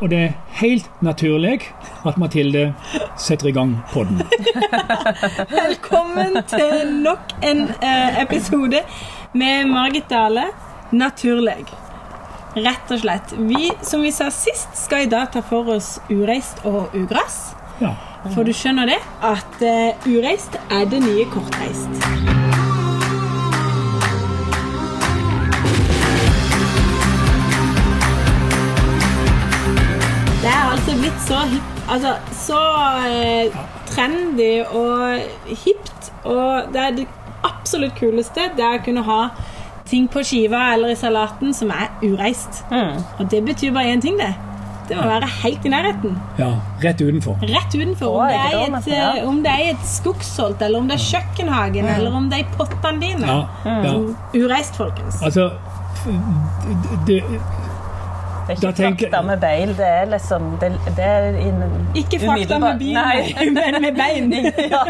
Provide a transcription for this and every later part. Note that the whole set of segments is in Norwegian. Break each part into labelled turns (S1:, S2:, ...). S1: Og det er helt naturlig at Mathilde setter i gang podden.
S2: Velkommen til nok en eh, episode med Margit Dale, Naturleg. Rett og slett. Vi, som vi sa sist, skal i dag ta for oss ureist og ugress.
S1: Ja.
S2: For du skjønner det, at eh, ureist er det nye kortreist. Det er altså blitt så hipp, altså så eh, trendy og hipt, og det er det absolutt kuleste, det er å kunne ha ting på skiva eller i salaten som er ureist. Og det betyr bare én ting, det. Det må være helt i nærheten
S1: ja. Rett utenfor.
S2: rett udenfor. Om
S3: Å,
S2: det,
S3: er
S2: er
S3: det da man
S2: et,
S3: skal gjøre?
S2: eh, om det er et skogsholt, eller om det er kjøkkenhagen, eller om det er i pottene dine. Mm.
S1: Ja. ja.
S2: Ureist, folkens.
S1: Altså det,
S3: Det er
S1: Da
S3: ikke
S1: tenker-
S3: fakta med beil, det er liksom Det, det er inn-
S2: Ikke fakta
S3: umiddelbar-
S2: med
S3: Nei.
S2: bilen, men med bein.
S3: Ja.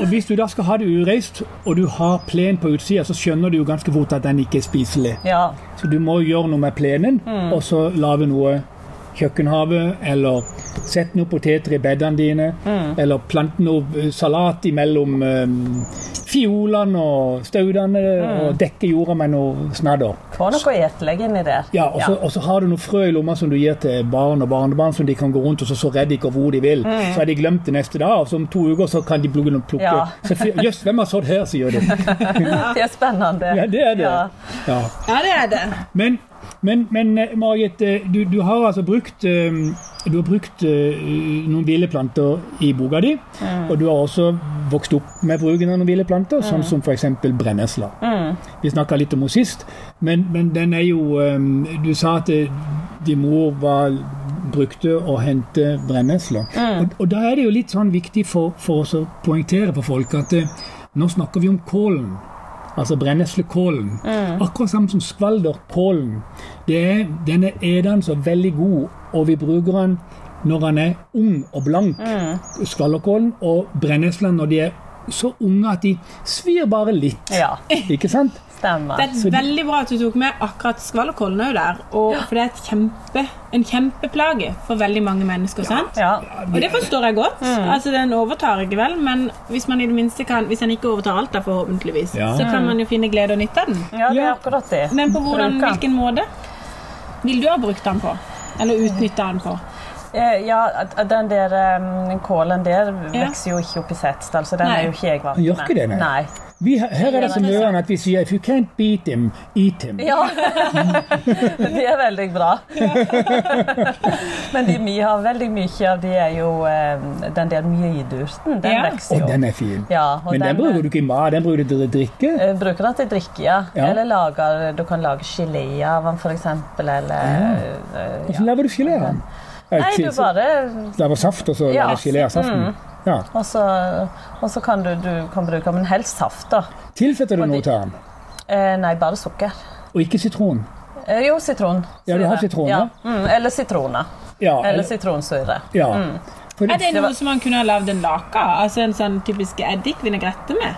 S1: og hvis du da skal ha det ureist, og du har plen på utsida, så skjønner du jo ganske fort at den ikke er spiselig.
S3: ja.
S1: Så du må gjøre noe med plenen, og så lage noe kjøkkenhave, eller sette noen poteter i bedene dine, eller plante noe eh, salat imellom eh, fiolene og staudene, og dekke jorda med noe snadder.
S3: Få noe gjetelegg inni der.
S1: Ja, og så, og så har du noen frø i lomma som du gir til barn og barnebarn, som de kan gå rundt og så, så redde ikke over hvor de vil. Så har de glemt det neste dag, og så om to uker så kan de plukke noen plukke.
S3: Mm. Ja.
S1: Så fy- Jøss, hvem har sådd her, sier de.
S3: Det er spennende.
S1: Ja, det er det.
S3: Ja.
S1: Ja.
S2: Ja, det er det.
S1: Men, men, men eh, Margit, eh, du, du har altså brukt eh, Du har brukt eh, noen hvileplanter i boka di, og du har også vokst opp med bruken av noen hvileplanter, sånn som f.eks. brennesla. Vi snakka litt om henne sist, men, men den er jo eh, Du sa at eh, din mor var brukte å hente brennesla. Og, og da er det jo litt sånn viktig for, for oss å poengtere for folk at eh, nå snakker vi om kålen. Altså brenneslekålen.
S3: Mm.
S1: Akkurat samme som skvalderkålen. Det er, den er edende så veldig god, og vi bruker den når den er ung og blank.
S3: Mm.
S1: Skvalderkålen og brenneslene når de er så unge at de svir bare litt.
S3: ja.
S1: Ikke sant?
S2: Det
S3: Stemmer.
S2: er
S1: Så-
S2: veldig bra at du tok med akkurat skvallerkålen òg der. Og, for det er et kjempe, en kjempeplage for veldig mange mennesker. sant?
S3: Ja.
S2: Og det forstår jeg godt.
S3: Mm.
S2: Altså, Den overtar ikke vel, men hvis man i det minste kan, hvis den ikke overtar alt, da forhåpentligvis,
S1: Ja.
S2: så kan man jo finne glede og nytte av den.
S3: ja, det er
S1: Ja.
S3: akkurat det.
S2: Men på hvordan,
S3: Bruker.
S2: hvilken måte vil du ha brukt den på? Eller utnytta den på?
S3: Eh, Ja, at- den der em, kålen der
S2: Ja.
S3: vokser jo ikke opp i Setesdal, så den
S2: Nei.
S3: er jo ikke jeg vant
S1: Den gjør ikke det, nei.
S3: nei.
S1: Vi, her er det så mye at vi sier 'if you can't beat him, eat him'.
S3: Ja. de er veldig bra. Men de vi har veldig mye av, de er jo em, den der myrdurten. Den
S2: Ja.
S3: vokser
S1: Og
S3: jo.
S1: den er fin.
S3: Ja, og
S1: Men den bruker du ikke i mat, den bruker du til å drikke.
S3: eh, Bruker den til drikke, ja.
S1: Ja.
S3: Eller lager, du kan lage gelé av den, for eksempel. Eller, eh, ja.
S1: Hvordan lager du gelé av den? Eh,
S3: Nei, du
S1: til-
S3: bare
S1: Lager saft, og så
S3: Ja. Mm.
S1: lager gelé av saften? Ja.
S3: Og så, og så kan du, du kan bruke Men helst saft, da.
S1: Tilsetter du
S3: Og
S1: noe
S3: det-
S1: til den?
S3: Eh, nei, bare sukker.
S1: Og ikke sitron?
S3: Eh, jo, sitron.
S1: Ja, du har
S3: Syre.
S1: sitron,
S3: Ja. Mm, eller sitroner.
S1: Ja.
S3: Eller Mm. sitronsyre.
S1: ja. For
S2: Er det
S1: det,
S2: noe som man kunne ha lagd en lake av? Altså en sånn typisk eddikvinaigrette med?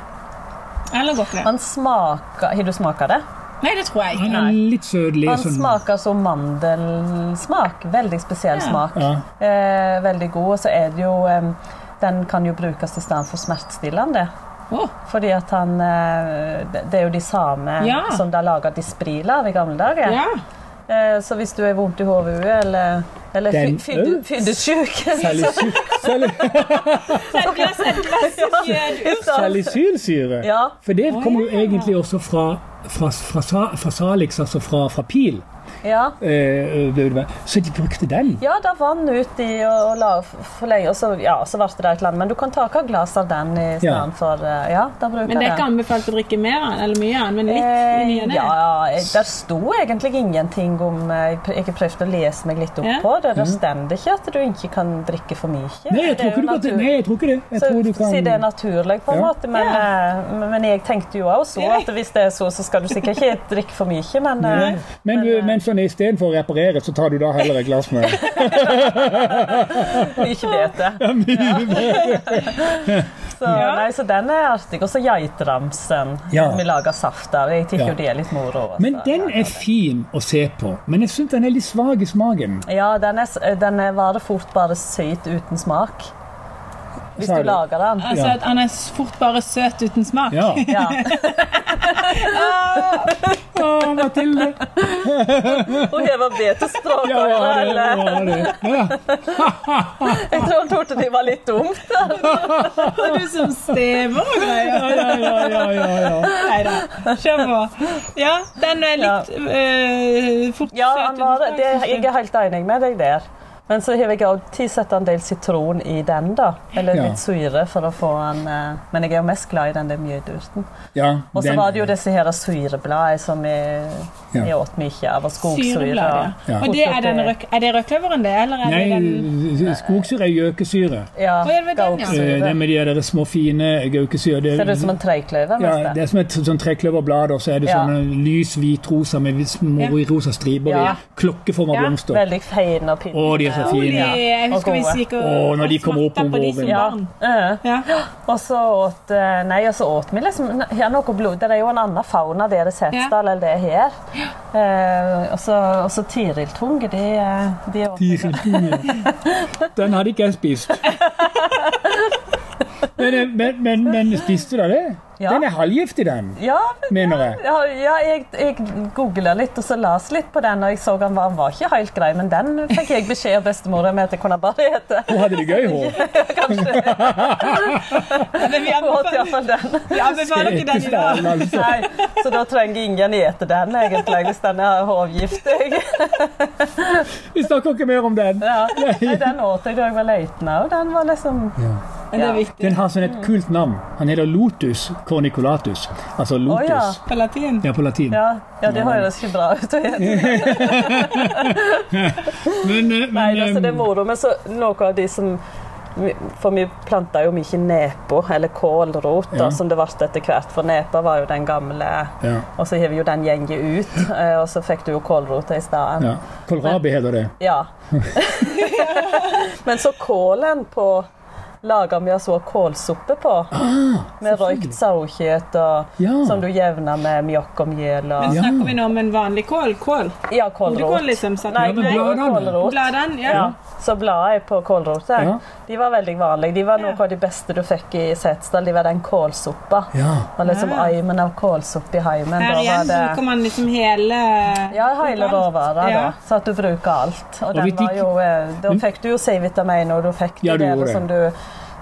S2: Eller går ikke det?
S3: Han smaker Har du smaka det?
S2: Nei, det tror jeg ikke.
S1: den er litt sødlig.
S3: Han
S1: Sånn,
S3: smaker som mandelsmak. Veldig spesiell
S2: Ja.
S3: smak.
S1: Ja.
S3: Eh, veldig god. Og så er det jo eh, Den kan jo brukes i stedet for smertestillende.
S2: Åh,
S3: Fordi at han eh, Det det er jo de samme
S2: Ja.
S3: som da laga Dispril av i gamle dager.
S2: ja.
S3: Eh, så hvis du er vondt i hodet eller, eller
S1: Den
S3: fy- fydde-
S1: øl?
S3: fyddesyk
S1: Salicyl- sali-
S2: Et glass, et glass fjødur.
S1: Salicylsyre.
S3: Ja.
S1: For det
S2: Å,
S1: kommer jo
S2: ja.
S1: egentlig også fra, fra, fra, sa- fra salix, altså fra, fra pil.
S3: ja.
S1: Eh, det vil være- så de brukte den.
S3: Ja, da vann ut i og, og la forlenge, og så, ja, så ble det der et land. Men du kan ta hva glass av den i stedet
S1: Ja.
S3: for eh, Ja, da bruker
S2: Men det er
S3: jeg
S2: ikke
S3: den.
S2: anbefalt å drikke mer av den, eller mye av den, men litt i ny
S3: Eh,
S2: og ne.
S3: ja, eh, der sto egentlig ingenting om eh, Jeg pr- jeg prøvde å lese meg litt opp
S2: Ja.
S3: på det. Der
S1: Mm.
S3: står det ikke at du ikke kan drikke for mye.
S1: Nei, jeg
S3: Det er
S1: tror
S3: jo
S1: ikke du kan
S3: natur-
S1: Nei, jeg tror ikke det. Jeg
S3: så,
S1: tror du kan
S3: Si det er naturlig, på en
S1: Ja.
S3: måte. Men, eh, men- men jeg tenkte jo også
S2: Ja.
S3: at hvis det er så, så skal du sikkert ikke drikke for mye. Men eh,
S1: Men, du- men sånn, istedenfor å reparere, så tar du da heller et glass med
S3: mye bete. Så, nei, så den er artig. Og så geitramsen.
S1: Ja.
S3: Vi lager saft av. Jeg
S1: Ja.
S3: tykker jo de er litt moro. også.
S1: Men den er fin å se på, men jeg syns den er litt svak i smaken.
S3: Ja, den, er, s- eh, den er- var det fort bare søt uten smak. Hvis
S1: Sa
S3: du
S1: du?
S3: lager den.
S2: Altså,
S1: Ja.
S2: at Han er s- fort bare søt uten smak.
S1: Ja.
S3: Ja.
S1: Å, Mathilde!
S3: Hun hever betestråk
S1: Ja,
S3: over
S1: hva er det?
S3: hele.
S1: Hva er det? Ja.
S3: Jeg tror hun trodde de var litt dumt.
S2: Og du som stever og greier.
S1: Ja, ja, ja, ja, ja.
S2: Nei da. Kjør på. Ja, den er litt eh, fort
S3: Ja,
S2: søt
S3: han var det. det.
S2: synes
S3: Jeg er helt enig med deg der. Men så har jeg også tilsatt en del sitron i den, da. Eller
S1: Ja.
S3: litt syre for å få den eh, Men jeg er jo mest glad i den der mjødurten.
S1: ja
S3: Og så
S1: den-
S3: var det jo disse her syrebladene som jeg,
S1: Ja.
S3: jeg åt mye av, og skogsyre.
S2: Syrebladet.
S1: Ja.
S2: Og det er, den røk, er det røkløveren, det? Eller er det den
S1: Nei, skogsyre er gjøkesyre.
S3: Ja,
S2: Å, ja, det var den, ja.
S1: Eh,
S3: gauksyre.
S1: Det med de der små, fine gaukesyre. Det,
S3: Ser ut som en trekløver.
S1: ja,
S3: nesten.
S1: det er som et sånn trekløverblad, og så er det
S3: Ja.
S1: sånne lys hvitrosa med små
S2: Ja.
S1: rosa striper
S3: Ja.
S1: i. Klokkeforma
S2: Ja,
S1: blomster.
S3: Veldig fin og pinne.
S1: Å, de er så
S2: Utrolig,
S1: fine.
S2: Jeg husker
S3: Og
S2: vi
S3: gode.
S2: gikk og,
S1: Å, når de kommer opp
S2: smakte
S1: om
S2: på de som
S1: våren.
S3: Ja.
S2: barn.
S3: eh.
S2: Ja.
S3: Og så åt eh, Nei, og så åt vi liksom ja, noe blod. Det er jo en annen fauna der i Setesdal enn det er her. Eh, og så og så Tiriltunge, de, eh, de åt
S1: De som- Den hadde ikke jeg spist. Men, eh, men, men, men spiste du da det?
S3: Ja.
S1: Den er halvgiftig, den,
S3: Ja,
S1: mener jeg.
S3: ja, ja jeg, jeg googla litt og så las litt på den, og jeg så han var, han var ikke helt grei, men den fikk jeg beskjed av bestemora mi at jeg kunne bare ete.
S1: Hun hadde det gøy, hun.
S2: Men vi
S3: Jeg åt
S2: anbefaler,
S3: iallfall den.
S2: vi anbefaler ikke den i dag.
S1: Stalen, altså.
S3: Nei, så da trenger ingen ete den, egentlig, hvis den er hovgiftig.
S1: Vi snakker ikke mer om den.
S3: Ja. Nei, den åt jeg da jeg var leiten òg. Den var liksom
S2: Men det er
S3: Ja.
S2: viktig.
S1: Den har sånn et kult navn. Han heter Lotus cornicolatus. Altså lotus.
S3: ja.
S1: ja.
S2: På latin.
S1: på latin.
S3: Ja, ja det høres ikke bra ut å ete.
S1: Men, eh, men,
S3: Nei, altså, det er
S1: eh,
S3: moro, men så noe av de som For vi planta jo mye nepo, eller kålrot,
S1: Ja.
S3: da, som det ble etter hvert. For nepa var jo den gamle
S1: ja,
S3: Og så har vi jo den gjengen ut, eh, og så fikk du jo kålrota i stedet.
S1: ja. Kålrabi heter det.
S3: Ja. men så kålen på Laga vi altså kålsuppe på, med røykt sauekjøtt og
S1: Ja.
S3: som du jevner med mjøkk og mjøl.
S2: Men
S3: Og,
S1: Ja.
S2: snakker vi nå om en vanlig kål? Kål?
S3: ja, kålrot.
S2: Hodekål, liksom? sant?
S3: Nei,
S1: Ja, men
S3: nei,
S1: bladene.
S3: kålrot.
S2: Bladene? Ja.
S3: Ja, så bladet på kålroter.
S1: Ja.
S3: De var veldig vanlige. De var noe
S2: Ja.
S3: av de beste du fikk i Setesdal. De var den kålsoppa.
S1: Ja.
S3: Og liksom
S2: Ja.
S3: eimen av kålsuppe i heimen.
S2: Her
S3: Da
S2: igjen
S3: var
S2: så bruker
S3: det
S2: man liksom hele
S3: ja, hele råvara, da.
S2: Ja.
S3: Så at du bruker alt. Og,
S1: Og vi
S3: den var
S1: fikk- Mm.
S3: jo, eh, da fikk du jo C-vitamin, og du fikk
S1: Ja, du
S3: de der
S1: gjorde det.
S3: som du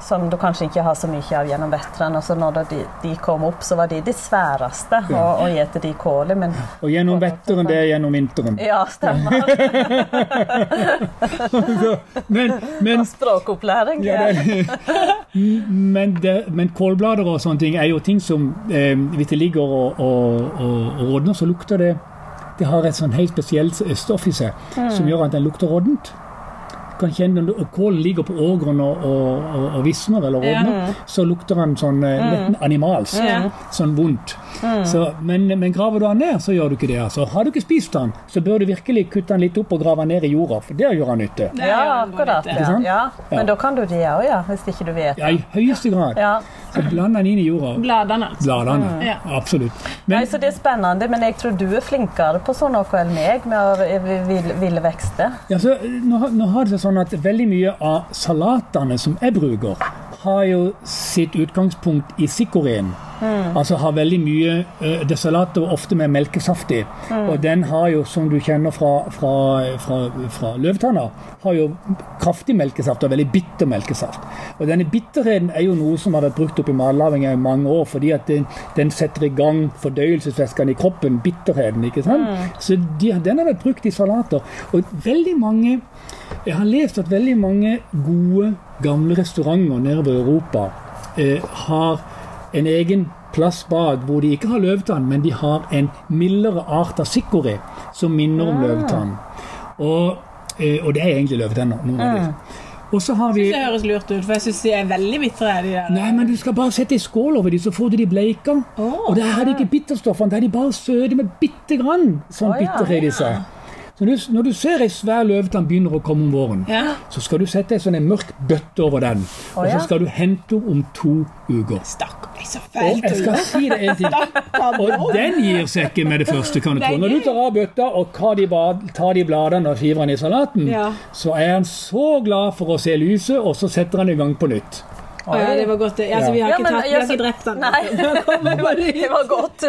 S3: som du kanskje ikke har så mye av gjennom vetteren. Og så når de, de kom opp, så var de de sværeste å å gjete de kålet. Men
S1: Og gjennom vetteren, det er gjennom vinteren.
S3: ja, stemmer.
S1: Men, men,
S3: Språkopplæring.
S1: ja,
S3: det-
S1: det, men, det, men kålblader og sånne ting er jo ting som eh, Hvis det ligger og, og, og, og rådner, så lukter det Det har et sånn helt spesielt stoff i seg som gjør at den lukter råddent. Du Kan kjenne, når kålen ligger på ågren og, og, og, og visner eller
S2: Ja.
S1: rådner, så lukter den sånn eh, nesten animalsk.
S2: Ja.
S1: Sånn vondt. Så, men, men graver du den ned, så gjør du ikke det. altså. Har du ikke spist den, så bør du virkelig kutte den litt opp og grave den ned i jorda, for det gjør den nytte.
S2: Det sånn. er jo
S3: Ja,
S2: en god
S3: akkurat.
S2: idé.
S1: Ikke
S3: Ja.
S1: sant?
S3: Ja.
S1: Ja.
S3: Men da kan du det òg, ja, hvis ikke du vet.
S1: Ja, i høyeste grad.
S3: Ja.
S1: Så bland den inn i jorda.
S2: Bladene. altså.
S1: Bladene.
S2: Ja.
S1: Absolutt.
S3: Nei,
S1: Men
S3: så det er spennende, men jeg tror du er flinkere på sånn noe enn meg med å vil- vil- ville vekster.
S1: altså, nå, har- nå har det seg sånn at veldig mye av salatene som jeg bruker, har jo sitt utgangspunkt i sikkorien. Altså har veldig mye eh, Det er salater ofte med melkesaft i. Og den har jo, som du kjenner fra, fra, fra, fra løvetanna, har jo kraftig melkesaft og veldig bitter melkesaft. Og denne bitterheten er jo noe som har vært brukt opp i matlaging i mange år, fordi at den, den setter i gang fordøyelsesvæskene i kroppen, bitterheten, ikke sant? Så de, den har vært brukt i salater. Og veldig mange jeg har lest at veldig mange gode, gamle restauranter nedover i Europa eh, har en egen plass bak hvor de ikke har løvetann, men de har en mildere art av sikkori som minner om løvetann. Og, eh, og det er egentlig løvetenner. noen av de. Og så har vi
S2: Det høres lurt ut, for jeg syns de er veldig bitre. de der.
S1: Nei, men du skal bare sette i skål over dem, så får du de bleika.
S2: Åh.
S1: og der har de ikke bitterstoffene, der er de bare søte med bitte grann sånn
S3: Å, ja.
S1: bitterhet i seg. Så når du, når du ser ei svær løvetann begynner å komme om våren,
S2: Ja.
S1: så skal du sette ei sånn en mørk bøtte over den. Og
S3: ja.
S1: så skal du hente henne om to uker.
S2: Stakkar, det er så
S1: Og jeg skal
S2: fælt.
S1: si det en ting. Og den gir seg ikke med det første, kan du tro. Når du tar av bøtta og tar de, ba- tar de bladene og skiver den i salaten,
S2: Ja.
S1: så er han så glad for å se lyset, og så setter han i gang på nytt.
S2: Å ja, det var godt. det. Altså, vi har ikke, tatt, vi har ikke drept den.
S3: Nei, det var godt.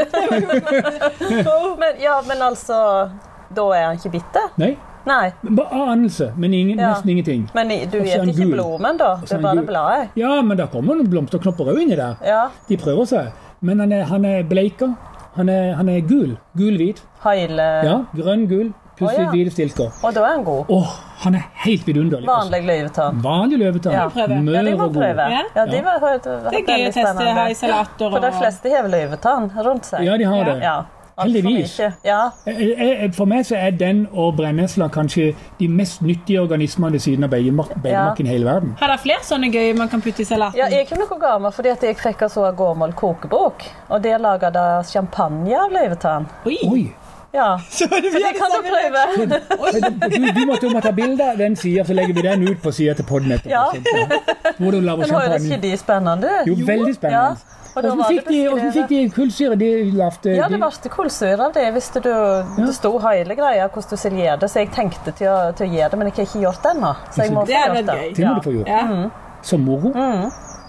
S3: men, ja, men altså Da er han ikke bitter?
S1: Nei,
S3: Nei.
S1: bare anelse, men ingen,
S3: Ja.
S1: nesten ingenting.
S3: Men i- du
S1: Og så er
S3: spiser
S1: han
S3: ikke
S1: gul.
S3: blomen, da? Det
S1: Så
S3: er
S1: han
S3: bare
S1: gul.
S3: bladet?
S1: Ja, men der kommer noen blomsterknopper òg inni der.
S3: Ja.
S1: De prøver seg. Men han er, han er bleika. Han er, han er gul. Gul-hvit.
S3: Hele
S1: Ja, Grønn-gul, plutselig
S3: Å, ja.
S1: hvite stilker.
S3: Og da er han god.
S1: Åh, han er helt vidunderlig. altså.
S3: Vanlig løvetann.
S1: Vanlig løvetann.
S3: Ja.
S2: Prøve.
S1: Mør
S3: Ja, de må
S1: og god.
S3: prøve.
S2: Ja.
S3: Ja, de var, det, var
S2: Det er gøy å
S3: veldig
S2: teste
S3: spennende.
S2: her i salater
S3: For de
S2: og
S3: fleste har løvetann rundt seg.
S1: Ja, de har
S2: Ja.
S1: det.
S3: Ja. Alt for
S1: Heldigvis.
S3: mye. Ja.
S1: Jeg- jeg- For meg så er den og brennesla kanskje de mest nyttige organismene ved siden av beigemakken
S3: Ja.
S1: i hele verden.
S2: Har dere flere sånne gøye man kan putte i salaten?
S3: Ja, jeg kom noen ganger fordi at jeg fikk altså en gammel kokebok, og der laget de champagne av løvetann.
S2: Oi!
S1: Oi!
S3: Ja, så det kan
S2: sånn-
S3: du prøve.
S1: Du, du måtte jo må ta bilde av den sida, så legger vi den ut på sida til podden etterpå.
S3: Ja.
S1: Hvor du lager
S3: Men høres
S1: champagne.
S3: ikke de spennende
S1: Jo,
S3: ut?
S1: veldig
S3: Ja,
S1: spennende.
S3: og da
S1: Hvordan
S3: var det
S1: fikk, de, hvordan fikk
S3: beskrevet.
S1: de kullsyre? De lagde
S3: Ja, det
S1: de-
S3: ble kullsyre av det. Hvis du, det sto hele greia hvordan du skulle gjøre det, så jeg tenkte til å, til å gjøre det, men jeg har ikke gjort det ennå. Så jeg må
S2: Det er
S3: få
S2: vel
S3: gjort
S2: gøy.
S1: Det må du få gjort.
S2: Ja.
S3: Mm.
S1: Så moro.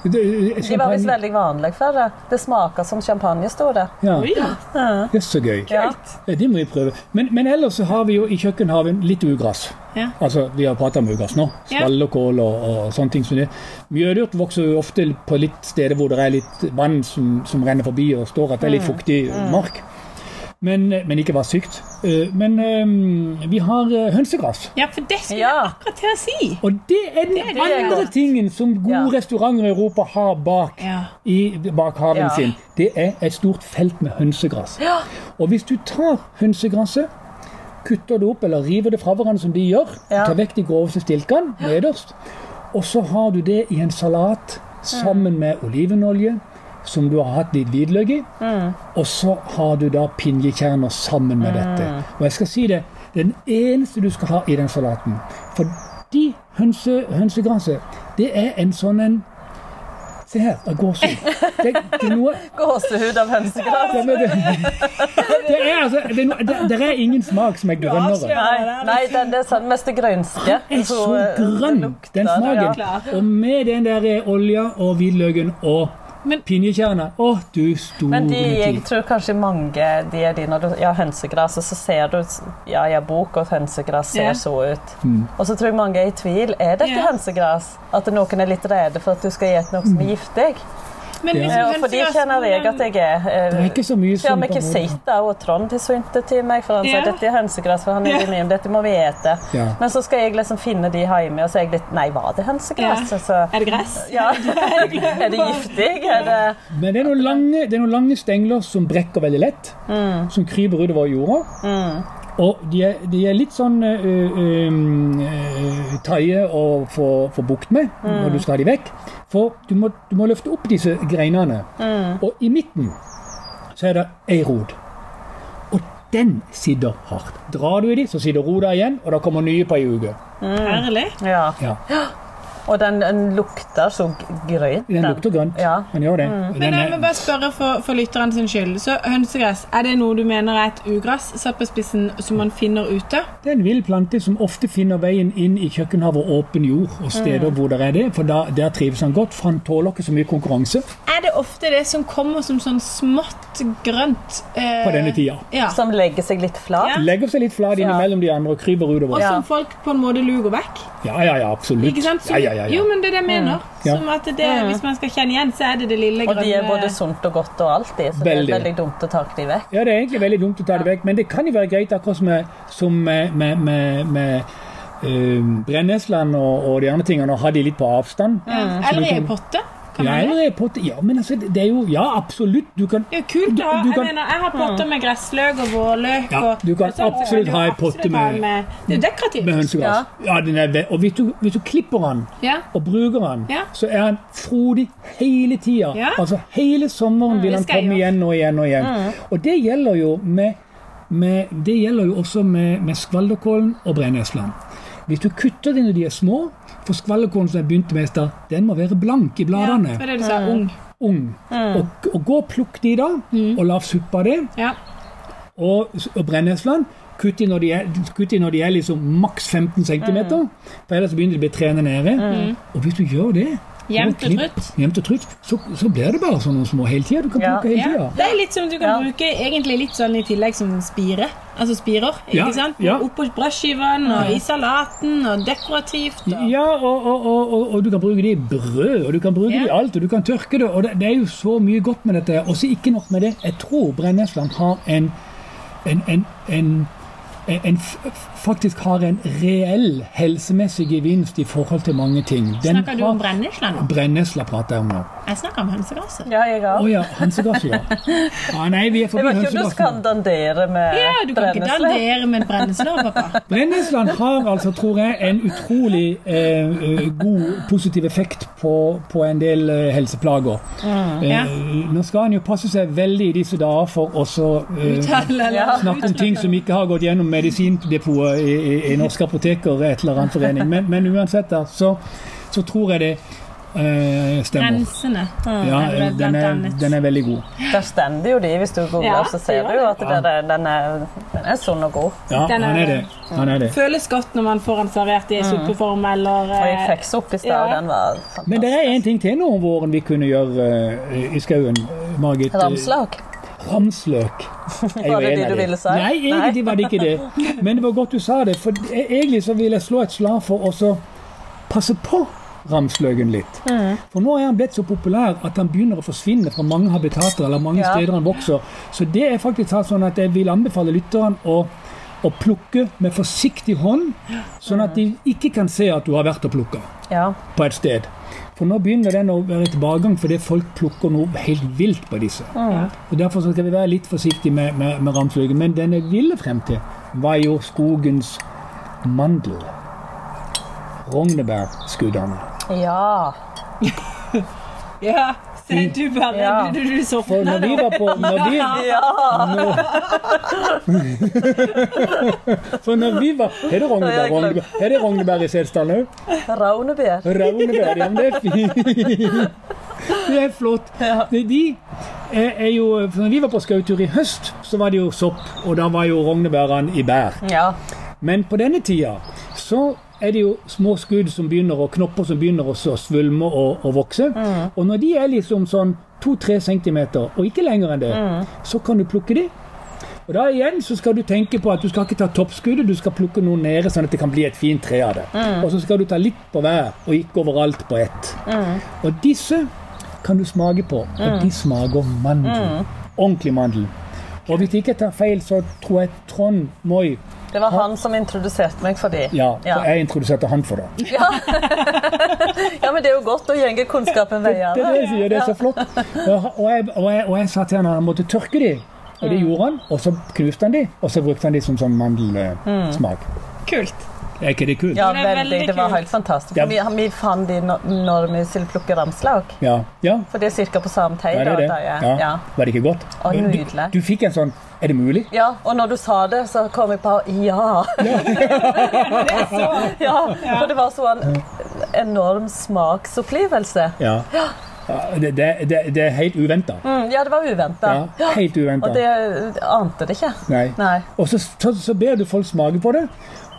S1: Det-
S3: De var visst
S1: champagne-
S3: veldig vanlige for det. Det smaker som champagne, sto det.
S1: Ja,
S2: Oi.
S1: det er så gøy.
S3: Ja.
S1: Ja, Det må vi prøve. Men, men ellers så har vi jo i kjøkkenhaven litt ugress.
S2: Ja.
S1: Altså, vi har pratet om ugress nå.
S2: Ja.
S1: Skall og kål og, og sånne ting. som det. Mjødurt vokser jo ofte på litt steder hvor det er litt vann som, som renner forbi og står at det er
S2: Mm.
S1: litt fuktig mark. Men, men ikke vass sykt. Eh, Men eh, vi har eh, hønsegress.
S2: ja, for det skulle
S3: Ja.
S2: jeg akkurat til å si.
S1: Og det er den
S2: er det
S1: andre
S3: godt.
S1: tingen som gode
S3: Ja.
S1: restauranter i Europa har bak
S2: Ja.
S1: i bakhaven
S3: Ja.
S1: sin, det er et stort felt med hønsegress. Og hvis du tar hønsegresset, kutter det opp eller river det fra hverandre som de gjør,
S3: Ja.
S1: tar vekk de groveste stilkene nederst, og så har du det i en salat sammen med olivenolje, som du har hatt litt hvitløk i, og så har du da pinjekjerner sammen med dette. Og jeg skal si det, det er den eneste du skal ha i den salaten. For de hønse, hønsegresset, det er en sånn en Se her, av gåsehud. Det, det er noe
S3: Gåsehud av hønsegress.
S1: ja, men det, det er altså det er, noe, det, det er ingen smak som er grønnere.
S3: Nei, nei den er sånn mest grønske. eh,
S1: Den er så grønn, den smaken. Og med den der eh, olja og hvitløken og
S2: Men-
S1: pinjekjerner Å, du store
S3: Men de, jeg
S1: tid.
S3: tror kanskje mange de er de når du ja, hønsegress, og så ser du ja, jeg har bok, og hønsegress ser
S2: Ja.
S3: så ut. Og så tror jeg mange er i tvil. Er dette
S2: Ja.
S3: hønsegress? At noen er litt redde for at du skal gjette noe som er giftig?
S2: Men hvis
S3: Eh, og for de
S2: hønsegress-
S3: kjenner jeg at jeg er. eh,
S1: Det er ikke så mye
S3: Til og med
S1: som-
S3: Kisita og Trond har sunt det til meg, for han sier
S2: Ja.
S3: dette er hønsegress, for han er
S2: Ja.
S3: mye om dette må vi ete.
S1: Ja.
S3: Men så skal jeg liksom finne de hjemme, og så er jeg litt Nei, var det hønsegress?
S2: Ja.
S3: Altså,
S2: Er det gress?
S3: ja. er det giftig? Er det
S1: Men det er, noen lange, det er noen lange stengler som brekker veldig lett,
S3: mm,
S1: som kryper utover jorda. Og de er, de er litt sånn uh, taie å få, få bukt med når du skal ha de vekk. For du må, du må løfte opp disse greinene. Og i midten så er det ei rod. Og den sitter hardt. Drar du i de, så sitter roda igjen, og da kommer nye på ei uke.
S3: Mm.
S2: Herlig.
S3: Ja.
S1: Ja,
S3: Og den, den lukter så grønt.
S1: den lukter grønt.
S3: Ja.
S1: Den gjør det.
S2: Men
S1: Den
S2: jeg må
S1: er,
S2: bare spørre for, for lytteren sin skyld. Så hønsegress, er det noe du mener er et ugress satt på spissen som man finner ute?
S1: Det er en vill plante som ofte finner veien inn i kjøkkenhavet og åpen jord og steder hvor det er det, for da, der trives han godt, for han tåler ikke så mye konkurranse
S2: Er det ofte det som kommer som sånn smått grønt eh,
S1: på denne tida.
S2: Ja.
S3: Som legger seg litt flat.
S2: Ja.
S1: Legger seg litt flat innimellom de andre og kryper
S2: Og
S1: utover.
S2: som folk på en måte luker vekk.
S1: Ja, ja, ja, absolutt.
S2: Ikke sant? Så,
S1: Ja, ja, ja,
S2: Jo,
S1: ja.
S2: men det er det jeg mener.
S1: Ja.
S2: Som at det, Hvis man skal kjenne igjen, så er det det lille
S3: Og
S2: grønne
S3: de er både sunt og godt og alt, de, så det
S1: Veldig.
S3: er veldig dumt å ta de vekk.
S1: Ja, det er egentlig veldig dumt å ta det vekk, men det kan jo være greit akkurat som med, som med, med, med, med eh, brennesland og, og de andre tingene, å ha de litt på avstand.
S2: Ja. Eller i en potte. Kan
S1: Ja,
S2: man det?
S1: eller i potte- ja, men altså, det er jo Ja, absolutt. Du kan
S2: Ja, kult å ha.
S1: Du- du
S2: Jeg
S1: kan-
S2: mener, jeg har potter med gressløk og vårløk.
S1: Ja,
S2: og,
S1: du kan
S2: og sånn, og
S1: absolutt
S2: du
S1: ha en
S2: absolutt
S1: potte
S2: ha
S1: med-
S2: Det er jo dekorativt.
S1: med hønsegass. Ja, den er ve- og hvis du, hvis du klipper den
S2: Ja.
S1: og bruker han,
S2: Ja.
S1: så er han frodig hele tida.
S2: Ja. Mm,
S1: Altså hele sommeren vil
S2: det
S1: han
S2: skal jeg
S1: komme
S2: gjøre. Mm.
S1: igjen og igjen og igjen. Og det gjelder jo med Men det gjelder jo også med, med skvalderkålen og brennesland. Hvis du kutter dem når de er små, for skvalderkålen som jeg begynte med i stad, den må være blank i bladene.
S2: Ja, det var det Mm. du sa. Ung.
S1: Ung. Og, og gå og plukk de da, og la suppe av det.
S2: Ja.
S1: Og, og brennesland kutt de når de er, kutt de når de er liksom maks 15 cm,
S2: Mm.
S1: for ellers begynner de å bli trene nede. Og hvis du gjør det
S2: Jevnt og
S1: klipp-
S2: trutt.
S1: jevnt og trutt, så, så blir det bare sånne små hele tida. Du kan
S3: Ja.
S1: plukke hele
S2: Ja.
S1: tida.
S2: Det er litt som du kan
S3: Ja.
S2: bruke egentlig litt sånn i tillegg som spire. Altså spirer. ikke
S1: Ja,
S2: sant?
S1: ja.
S2: Oppå brødskiven og i salaten og dekorativt. Og...
S1: Ja, og, og, og, og, og du kan bruke det i brød, og du kan bruke
S2: Ja.
S1: det i alt, og du kan tørke det. Og det, det er jo så mye godt med dette. her. Og så ikke nok med det, jeg tror brennesland har en, en, en, en en, en f- f- faktisk har en reell helsemessig gevinst i forhold til mange ting. Den
S2: Snakker du om
S1: har-
S2: brennesla nå?
S1: Brennesla prater jeg om nå.
S2: Jeg snakker om hønsegrasset.
S3: Ja, jeg
S1: Å
S3: òg.
S1: ja, hønsegass, ja. Ah, nei, vi er
S3: Jeg
S1: forbi
S3: vet ikke om du skal
S1: hønsegassen.
S3: dandere med
S2: Ja, du kan ikke
S3: brennesle.
S2: dandere med en brennesla, pappa.
S1: Brennesland har altså, tror jeg, en utrolig eh, eh, god positiv effekt på, på en del eh, helseplager.
S2: Mm, ja.
S1: Eh, nå skal han jo passe seg veldig i disse dager for å så, eh,
S2: Uttale eller
S3: Ja.
S1: snakke om ting som ikke har gått gjennom medisindepotet i, i, i Norske apoteker et eller annen forening. Men, men uansett, da, så, så tror jeg det eh, stemmer.
S2: Rensende.
S1: Ja,
S2: er det
S1: den er,
S2: blant annet.
S1: den er veldig god.
S3: Der stender jo de, hvis du googler,
S2: Ja,
S3: så ser
S2: det
S3: du jo
S2: gjør
S3: at den er, den er, den er sunn og god.
S1: Ja,
S2: Den er
S1: han er det.
S2: det.
S1: Han er det.
S2: Føles godt når man får den servert i suppeform eller
S3: Og jeg
S2: eh,
S3: fikk sopp i sted, og
S2: Ja.
S3: den var
S1: Men det
S3: fantastisk.
S1: er en ting til nå om våren vi kunne gjøre eh, i skauen, Margit.
S3: Ramslag.
S1: Ramsløk. er jo
S3: Var det
S1: en
S3: det
S1: av
S3: du
S1: de.
S3: ville si?
S1: Nei, egentlig var det ikke det. Men det var godt du sa det, for e- egentlig så vil jeg slå et slag for å så passe på ramsløken litt.
S3: Mm.
S1: For nå er han blitt så populær at han begynner å forsvinne fra mange habitater eller mange
S3: Ja.
S1: steder han vokser. Så det er faktisk tatt sånn at jeg vil anbefale lytteren å å plukke med forsiktig hånd, sånn at de ikke kan se at du har vært og plukka
S3: Ja.
S1: på et sted. For nå begynner den å være i tilbakegang fordi folk plukker noe helt vilt på disse. Og Derfor så skal vi være litt forsiktige med, med, med ramsløken. Men den jeg ville frem til, var jo skogens mandel. Rognebærskuddene.
S3: ja.
S2: eh, Ja, se du bare
S3: Ja.
S2: Du, du, du så
S1: For når vi var på, når vi, for når vi var Er det rognebær, rognebær, er det rognebær i Setesdal òg?
S3: Raunebær.
S1: Raunebær, ja, men det er fint. Det er flott. Det er de eh, er er jo, for når vi var på skautur i høst, så var det jo sopp, og da var jo rognebærene i bær.
S3: Ja.
S1: Men på denne tida så er det jo små skudd som begynner, og knopper som begynner også å svulme og, og vokse. Og når de er liksom sånn 2-3 cm, og ikke lenger enn det, så kan du plukke de. Og da igjen så skal du tenke på at du skal ikke ta toppskuddet, du skal plukke noe nede, sånn at det kan bli et fint tre av det. Og så skal du ta litt på hver, og ikke overalt på ett. Og disse kan du smake på, og de smaker mandel. Ordentlig mandel. Og hvis jeg ikke tar feil, så tror jeg Trond Moi
S3: Det var han som introduserte meg for de.
S1: ja, for
S3: ja.
S1: jeg introduserte han for det.
S3: Ja, men det er jo godt å gjenge kunnskapen
S1: Det er
S3: videre.
S1: det jeg sier, det er så flott. Og, og, jeg, og, jeg, og jeg sa til han at han måtte tørke de, og det
S3: Mm.
S1: gjorde han. Og så knuste han de, og så brukte han de som sånn mandelsmak.
S2: Kult.
S1: Er ikke det kult?
S3: Mm. Ja,
S2: Det er veldig
S3: veldig. Det var
S2: kult.
S3: helt fantastisk.
S1: Ja.
S3: Vi, vi fant de når, når vi skulle plukke ramslag.
S1: Ja. ja.
S3: For det er ca. på samme tid.
S1: ja det
S3: da,
S1: er det.
S3: da, ja.
S1: Ja.
S3: Ja.
S1: Var det ikke godt?
S3: Å,
S1: Du-
S3: nydelig.
S1: Du, du fikk en sånn Er det mulig?
S3: ja, og når du sa det, så kom jeg på ja. ja, for det var så en enorm smaksopplevelse.
S1: Ja. Ja, Det, det, det, det er helt uventa.
S3: Mm, ja, det var uventa.
S1: Ja, helt uventa.
S3: Og det ante det ikke.
S1: Nei.
S3: Nei.
S1: Og så, så, så ber du folk smake på det,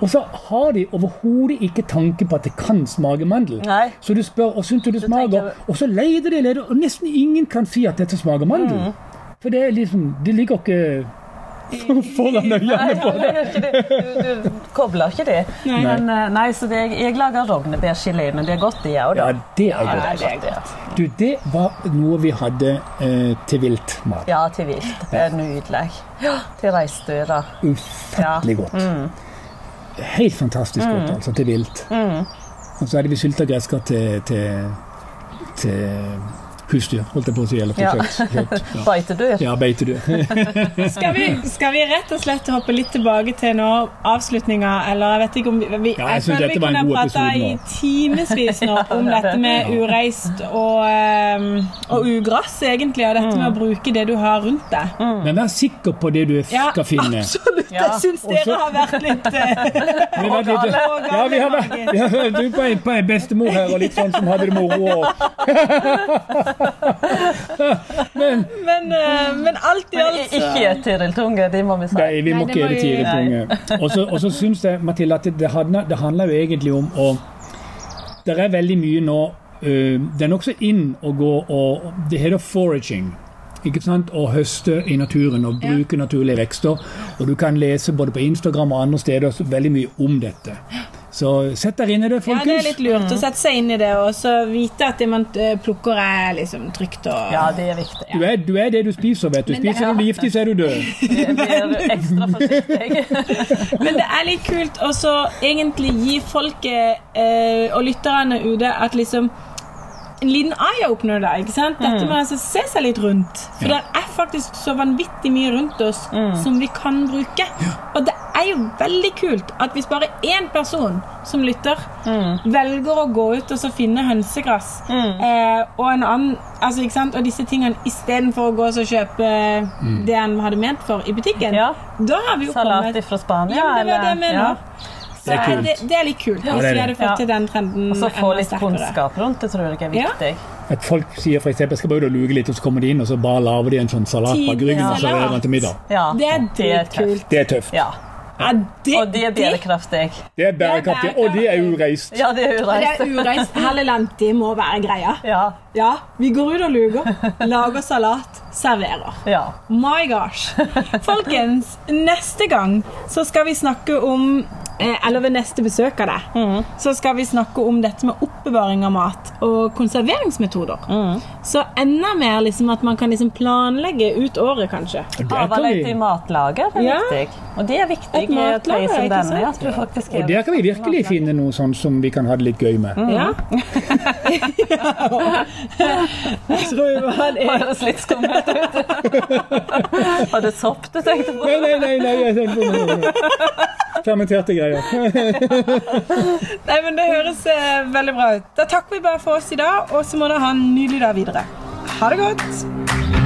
S1: og så har de overhodet ikke tanke på at det kan smake mandel.
S3: Nei.
S1: Så du spør hva syns du det smaker,
S3: tenker-
S1: og så leter de leter, og nesten ingen kan si at dette smaker mandel.
S3: Mm.
S1: For det er liksom Det ligger ikke foran
S3: Nei,
S1: øynene på
S3: du, gjør ikke det. du, du kobler ikke det.
S2: Nei.
S3: Men, eh, nei, så det, jeg lager rognebærgelé, men det er godt, det òg, da.
S1: Ja, det er
S3: Ja,
S1: godt.
S3: det er godt.
S1: Du, det var noe vi hadde eh, til viltmat.
S3: Ja, til vilt. Det er nydelig. Ja, til reinsdyra.
S1: Ufattelig godt.
S3: Mm.
S1: Helt fantastisk godt, altså, til
S3: Mm.
S1: vilt. Og så hadde vi sylta gresskar til, til, til husdyr, holdt jeg på å si. Eller
S3: Ja. Mm.
S1: kjøtt. kjøtt, ja.
S3: Beitedyr.
S1: Ja, beitedyr.
S2: Skal vi, skal vi rett og slett hoppe litt tilbake til nå avslutninga, eller jeg vet ikke om vi, vi
S1: Ja, jeg
S2: Jeg
S1: synes
S2: føler vi
S1: dette var en
S2: kunne
S1: god
S2: prata
S1: episode
S2: i
S1: nå.
S2: timevis nå om dette med ureist og, ehm, og ugress, egentlig, og dette med å bruke det du har rundt deg.
S3: Mm.
S1: Men vær sikker på det du skal finne.
S2: absolutt.
S3: Ja.
S2: Jeg syns dere har vært litt eh,
S1: Vi har vært litt-
S2: gale.
S1: ja, vi har vært vi har vært ut på en, på en bestemor her og litt sånn som hadde det moro. og-
S2: men, eh, men alt i
S3: Men
S2: alt
S3: i- ikke Tiril Tunge, de må vi si.
S1: Nei, vi må
S2: Nei,
S1: ikke
S2: det må
S1: gjøre det
S2: vi-
S1: tidlig. Og så- Og så syns jeg, Mathilde, at det, det, handler, det handler jo egentlig om å Det er veldig mye nå eh, Det er nokså inn å gå og Det heter foraging. Ikke sant? Å høste i naturen og bruke naturlige vekster. Og du kan lese både på Instagram og andre steder så veldig mye om dette. Så sett deg inn i det,
S2: Ja, det er
S1: folkens.
S2: litt lurt å sette seg inn i det og så vite at det man eh, plukker, er liksom trygt og
S3: Ja, det er viktig.
S1: Du er, du er det du spiser, vet du.
S2: Men det-
S1: Spiser du giftig, så er du død.
S3: Vi blir ekstra forsiktige.
S2: Men det er litt kult å så egentlig gi folket eh, og lytterne ute at liksom en liten eye-opener der. ikke sant? Dette
S3: Mm.
S2: med å altså se seg litt rundt. For
S1: Ja.
S2: det er faktisk så vanvittig mye rundt oss
S3: Mm.
S2: som vi kan bruke. Og det er jo veldig kult at hvis bare én person som lytter,
S3: Mm.
S2: velger å gå ut og så finne hønsegress eh, og en annen, altså ikke sant, og disse tingene istedenfor å gå og så kjøpe eh, det en hadde ment for i butikken,
S3: Ja.
S2: da har vi jo kommet
S3: Salat fra Spania,
S2: ja, men det var det jeg mener.
S3: eller- Ja.
S2: Så
S1: Det er kult.
S2: Det, det er litt kult
S1: det
S2: hvis
S1: er
S2: vi
S1: det.
S2: hadde fått
S3: Ja.
S2: til den trenden
S3: Og så få
S2: Mm, enda
S3: litt
S2: sterkere.
S3: kunnskap rundt det, tror jeg er
S2: Ja.
S3: viktig.
S1: At folk sier f.eks. jeg skal bare ut og luge litt, og så kommer de inn og så bare lager de en sånn salat bak ryggen og
S2: Tidlig
S1: serverer
S2: salat.
S1: den til middag.
S3: Ja,
S2: Det er
S3: tøft.
S2: dritkult.
S1: Det er tøft.
S3: Ja.
S2: Ja, det,
S3: Og de er bærekraftig.
S1: Det er bærekraftig, og det er ureist.
S3: Ja, det er
S2: det er
S3: ureist.
S2: ureist. Helleland, det må være greia.
S3: Ja.
S2: Ja, vi går ut og luger, lager salat, serverer.
S3: ja.
S2: My gosh. Folkens, neste gang så skal vi snakke om eh, Eller ved neste besøk av deg,
S3: Mm.
S2: så skal vi snakke om dette med oppbevaring av mat og konserveringsmetoder. Så enda mer liksom at man kan liksom planlegge ut året, kanskje.
S1: Det kan
S3: Avlegg
S1: vi,
S3: i matlager er
S2: Ja.
S3: viktig. Og det er viktig
S2: Et
S3: i
S2: matlager,
S3: et øy som
S2: ikke
S3: denne.
S2: sant?
S3: At du faktisk
S1: og der kan vi virkelig finne noe sånn som vi kan ha det litt gøy med.
S2: Ja. Jeg tror det var
S3: Det
S2: det.
S3: høres litt skummelt ut. Var det sopp du tenkte på?
S1: Nei, nei, nei, nei, jeg tenkte på Fermenterte greier.
S2: Nei, men det høres eh, veldig bra ut. Da takker vi bare for oss i dag, og så må dere ha en nydelig dag videre. Ha det godt.